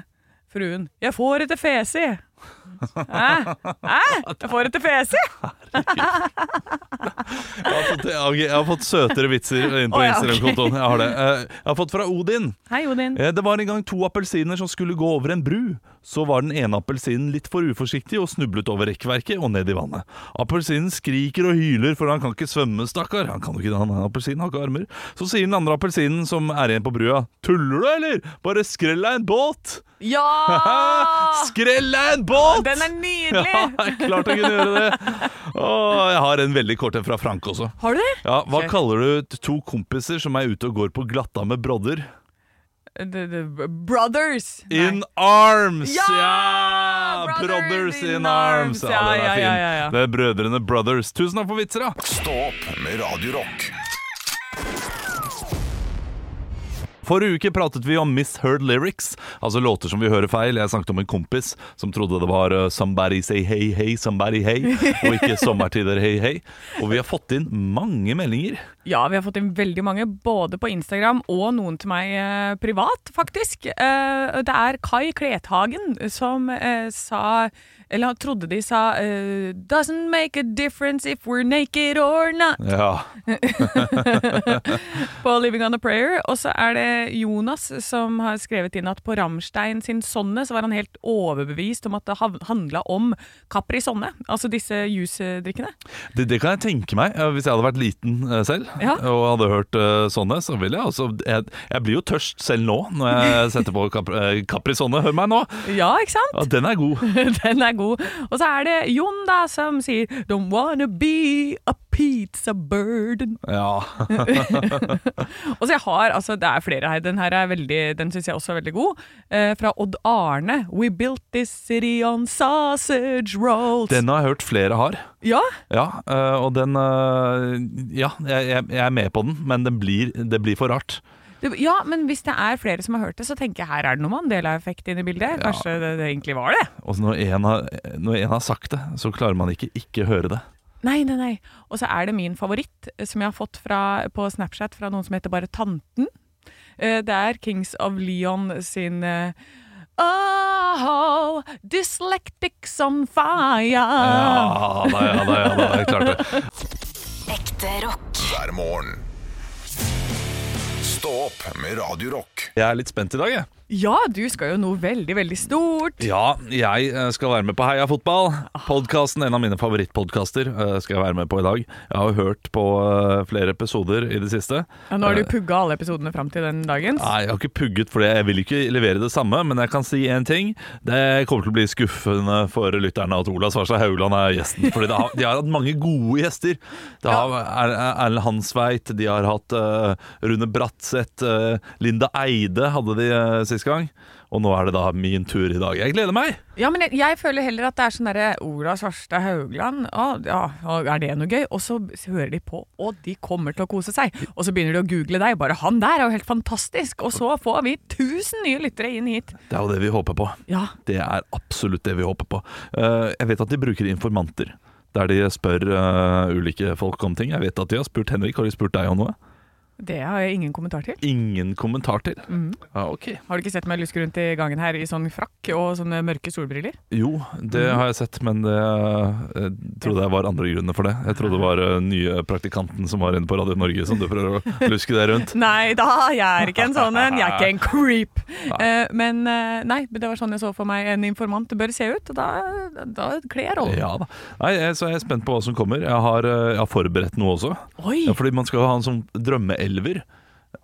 S3: Fruen. Jeg får etter fesi. Hæ? Hæ? Jeg får etter fesi?
S2: Jeg har fått, jeg har- jeg har fått søtere vitser inn på
S3: Å, ja, ok.
S2: Instagram-kontoen. Jeg har det. Eh, Jeg har fått fra Odin.
S3: Hei, Odin.
S2: Eh, Det var en gang to appelsiner som skulle gå over en bru. Så var den ene appelsinen litt for uforsiktig og snublet over rekkverket og ned i vannet. Appelsinen skriker og hyler, for han kan ikke svømme, stakkar. Han kan jo ikke det, han appelsinen har ikke armer. Så sier den andre appelsinen, som er igjen på brua, tuller du, eller? Bare skrell deg en båt!
S3: Ja!
S2: Skrell deg en båt!
S3: Den er
S2: Ja,
S3: nydelig!
S2: jeg klarte å kunne gjøre det. Å, jeg har en veldig kort en fra Frank også.
S3: Har du det?
S2: Ja, Hva
S3: Kjør.
S2: kaller du t- to kompiser som er ute og går på glatta med brodder?
S3: The, the Eh, brothers. Nei.
S2: In arms!
S3: Ja! Ah,
S2: Brothers, in arms! Ja,
S3: Ja,
S2: den er
S3: ja,
S2: fin.
S3: ja, ja, ja.
S2: Det er Brødrene Brothers. Tusen takk for vitser, da!
S1: Stå opp med Radio Rock.
S2: Forrige uke pratet vi om misheard lyrics, altså låter som vi hører feil. Jeg snakket om en kompis som trodde det var uh, 'Somebody say hey hey, somebody hey', og ikke 'Sommertider hey hey'. Og vi har fått inn mange meldinger.
S3: Ja, vi har fått inn veldig mange, både på Instagram og noen til meg eh, privat, faktisk. Eh, det er Kai Klethagen som eh, sa, eller han trodde de sa eh, 'Doesn't make a difference if we're naked or not'
S2: Ja,
S3: på Living on a Prayer. Og så er det Jonas som har skrevet inn at på Ramstein sin Sonne så var han helt overbevist om at det hav- handla om Capri Sonne, altså disse juicedrikkene.
S2: Det, det kan jeg tenke meg. eh, Hvis jeg hadde vært liten eh, selv
S3: Ja.
S2: og hadde hørt eh, sånne, så ville jeg altså jeg, jeg blir jo tørst selv nå når jeg setter på Capri, eh, Capri Sonne. Hør meg nå!
S3: Ja, ikke sant?
S2: Ja, den er god.
S3: Den er god. Og så er det Jon da som sier Don't wanna be a pizza burden.
S2: Ja.
S3: Og så jeg har, altså det er flere her, den her er veldig, den synes jeg også er veldig god. Eh, fra Odd Arne. We built this city on sausage rolls.
S2: Den har jeg hørt flere har.
S3: Ja,
S2: Ja, eh, og den eh, Ja, jeg, jeg, jeg er med på den, men den blir, det blir for rart.
S3: det, ja, men hvis det er flere som har hørt det, så tenker jeg her er det noe Mandela-effekt inne i bildet. Kanskje det, det egentlig var det?
S2: Og så når en, har, når en har sagt det, så klarer man ikke ikke høre det.
S3: Nei, nei, nei. Og så er det min favoritt, eh, som jeg har fått fra, på Snapchat fra noen som heter bare Tanten. Eh, Det er Kings of Leon sin eh, Oh, dyslectics on fire.
S2: Ja da, ja da, ja da, jeg klarte det.
S4: Ekte rock.
S1: hver morgen. Stå opp med Radio Rock.
S2: Jeg er litt spent i dag, jeg.
S3: Ja, du skal jo noe veldig, veldig stort.
S2: Ja, jeg eh, skal være med på Heia fotball. Podkasten, en av mine favorittpodkaster, eh, skal jeg være med på i dag. Jeg har jo hørt på eh, flere episoder i det siste.
S3: Ja, nå har du pugga alle episodene fram til den dagens.
S2: Nei, jeg har ikke pugget for det. Jeg vil ikke levere det samme, men jeg kan si én ting. Det kommer til å bli skuffende for lytterne at Ola Svarstad Haugland er gjesten. Fordi det har, de har hatt mange gode gjester. Det har Er- Er- Erlend Hansveit, de har hatt eh, Rune Bratseth, eh, Linda Eide hadde de uh, sist gang. Og nå er det da min tur i dag. Jeg gleder meg!
S3: Ja, men jeg, jeg føler heller at det er sånn derre Ola Svarstad Haugland, å, ja, å, er det noe gøy? Og så b- hører de på, og de kommer til å kose seg. Og så begynner de å google deg. Bare 'han der er jo helt fantastisk'. Og så får vi 1000 nye lyttere inn hit.
S2: Det er jo det vi håper på.
S3: Ja.
S2: Det er absolutt det vi håper på. Eh, Jeg vet at de bruker informanter. der de spør eh, ulike folk om ting. Jeg vet at de har spurt Henrik. Har de spurt deg om noe?
S3: Det har jeg ingen kommentar til.
S2: Ingen kommentar til. Ja, Ah, ok.
S3: Har du ikke sett meg luske rundt i gangen her i sånn frakk og sånne mørke solbriller?
S2: Jo, det har jeg sett, men det jeg trodde jeg var andre grunner for det. Jeg trodde det var eh, nye praktikanten som var inne på Radio Norge som du prøver å luske deg rundt.
S3: Nei da, jeg er ikke en sånn en. Jeg er ikke en creep. Eh, men eh, nei, men det var sånn jeg så for meg en informant bør se ut. og Da, da kler jeg rollen.
S2: Ja da. Nei, jeg, så er jeg spent på hva som kommer. Jeg har, eh, jeg har forberedt noe også.
S3: Oi!
S2: Ja, fordi man skal ha en sånn drømmeelver,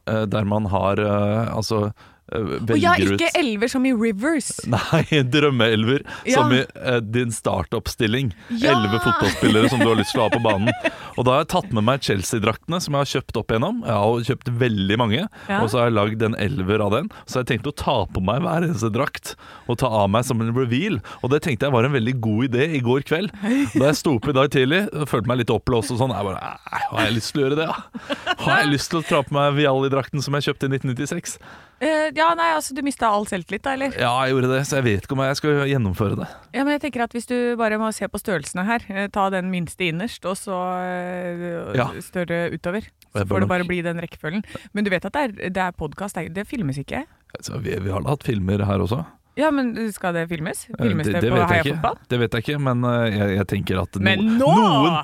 S2: eh, der man har eh, altså eh,
S3: og jeg
S2: velger
S3: er
S2: ut
S3: ikke elver som i Rivers.
S2: Nei, drømmeelver.
S3: Ja.
S2: Som i eh, din startoppstilling.
S3: Ja.
S2: Elleve fotballspillere som du har lyst til å ha på banen. Og da har jeg tatt med meg Chelsea-draktene som jeg har kjøpt opp igjennom. Jeg har kjøpt veldig mange,
S3: Ja.
S2: og så har jeg lagd en elver av den. Så jeg tenkte å ta på meg hver eneste drakt, og ta av meg som en reveal. Og det tenkte jeg var en veldig god idé i går kveld. Da jeg sto opp i dag tidlig, følte meg litt oppblåst og sånn. Jeg bare "Nei, Har jeg lyst til å gjøre det, da? Har jeg lyst til å ta på meg Vialli-drakten som jeg kjøpte i 1996?
S3: Eh, ja, nei, altså du mista all selvtillit da, eller?
S2: Ja, jeg gjorde det, så jeg vet ikke om jeg skal gjennomføre det.
S3: Ja, men jeg tenker at hvis du bare må se på størrelsene her, eh, ta den minste innerst, og så eh,
S2: Ja.
S3: større utover.
S2: Og
S3: Så
S2: jeg bør
S3: får
S2: nok-
S3: det bare bli den rekkefølgen. Men du vet at det er, det er podkast, det, er- det filmes ikke?
S2: Altså, vi, vi har da hatt filmer her også.
S3: Ja, men skal det filmes?
S2: Eh,
S3: Filmes det,
S2: det
S3: på
S2: vet jeg
S3: Heia
S2: ikke.
S3: Fotball?
S2: Det vet jeg ikke, men eh, jeg, jeg tenker at no,
S3: Men nå!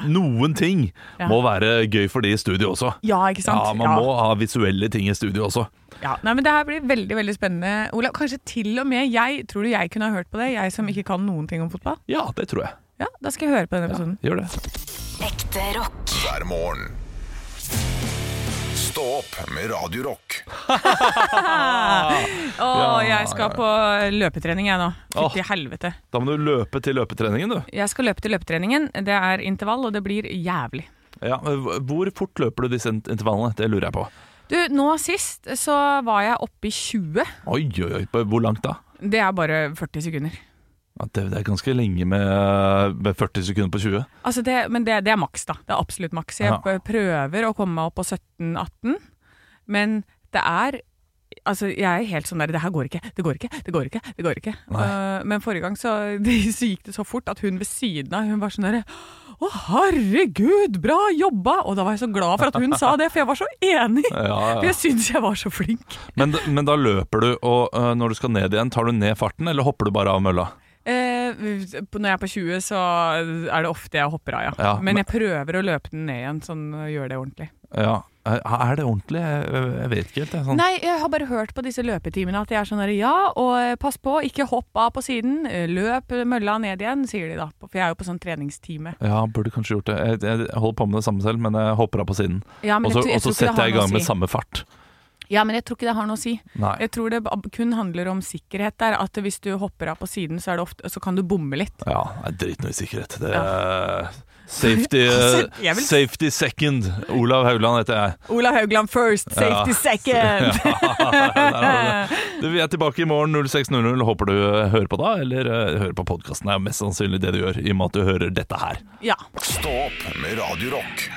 S2: noen, noen ting
S3: Ja.
S2: må være gøy for de i studio også.
S3: Ja, ikke sant?
S2: Ja, man må ha visuelle ting i studio også.
S3: Ja, nei, men Det her blir veldig veldig spennende. Olav, kanskje til og med jeg tror du jeg kunne ha hørt på det? Jeg som ikke kan noen ting om fotball?
S2: Ja, det tror jeg.
S3: Ja, Da skal jeg høre på denne episoden.
S2: Gjør det.
S4: Ekte rock.
S1: hver morgen. Stå opp med Radio Rock.
S3: Å, jeg skal på løpetrening jeg nå.
S2: Åh.
S3: Fytti helvete.
S2: Da må du løpe til løpetreningen, du.
S3: Jeg skal løpe til løpetreningen. Det er intervall, og det blir jævlig.
S2: Ja, men hvor fort løper du disse int- intervallene? Det lurer jeg på.
S3: Du, nå sist så var jeg oppe i 20.
S2: Oi, oi, oi. på- Hvor langt da?
S3: Det er bare 40 sekunder.
S2: Ja, det, det er ganske lenge med, eh, med 40 sekunder på 20.
S3: Altså det, men det, det er maks, da. Det er absolutt maks. Jeg
S2: Ja.
S3: prøver å komme meg opp på 17-18, men det er Altså, jeg er helt sånn der Det her går ikke, det går ikke, det går ikke. det går ikke Eh, Men forrige gang så, så gikk det så fort at hun ved siden av Hun var sånn derre Å, herregud, bra jobba! Og da var jeg så glad for at hun sa det, for jeg var så enig!
S2: Ja, ja.
S3: For jeg syns jeg var så flink.
S2: Men, men da løper du, og eh, når du skal ned igjen, tar du ned farten, eller hopper du bare av mølla?
S3: Eh, på- når jeg er på 20, så er det ofte jeg hopper av, ja.
S2: Ja,
S3: men,
S2: men-
S3: jeg prøver å løpe den ned igjen, sånn øh, gjør det ordentlig.
S2: Ja, Er er det ordentlig? Jeg jeg vet ikke helt. jeg, Sånn.
S3: Nei, jeg har bare hørt på disse løpetimene at de er sånn der, ja, og eh, pass på, ikke hopp av på siden, eh, løp mølla ned igjen, sier de da. For jeg er jo på sånn treningstime.
S2: Ja, burde kanskje gjort det. Jeg, jeg holder på med det samme selv, men jeg hopper av på siden.
S3: Ja,
S2: Og
S3: men jeg
S2: så
S3: tror-
S2: og
S3: jeg
S2: så
S3: tror ikke det
S2: setter jeg i
S3: har noe å
S2: gang med
S3: si.
S2: samme fart.
S3: Ja, men jeg tror ikke det har noe å si.
S2: Nei.
S3: Jeg tror det ba- kun handler om sikkerhet der, at hvis du hopper av på siden, så, er det ofte, så kan du bomme litt.
S2: Ja, det er drit noe i sikkerhet. Det er safety, eh,
S3: Altså, jeg vil-
S2: safety second. Olav Haugland heter jeg.
S3: Olav Haugland first, safety second!
S2: Der har du det. Du, Vi er tilbake i morgen 06.00. Håper du eh, hører på da, eller eh, hører på podkasten. Det er mest sannsynlig det du gjør, i og med at du hører dette her.
S3: Ja.
S1: Stå opp med Radio Rock.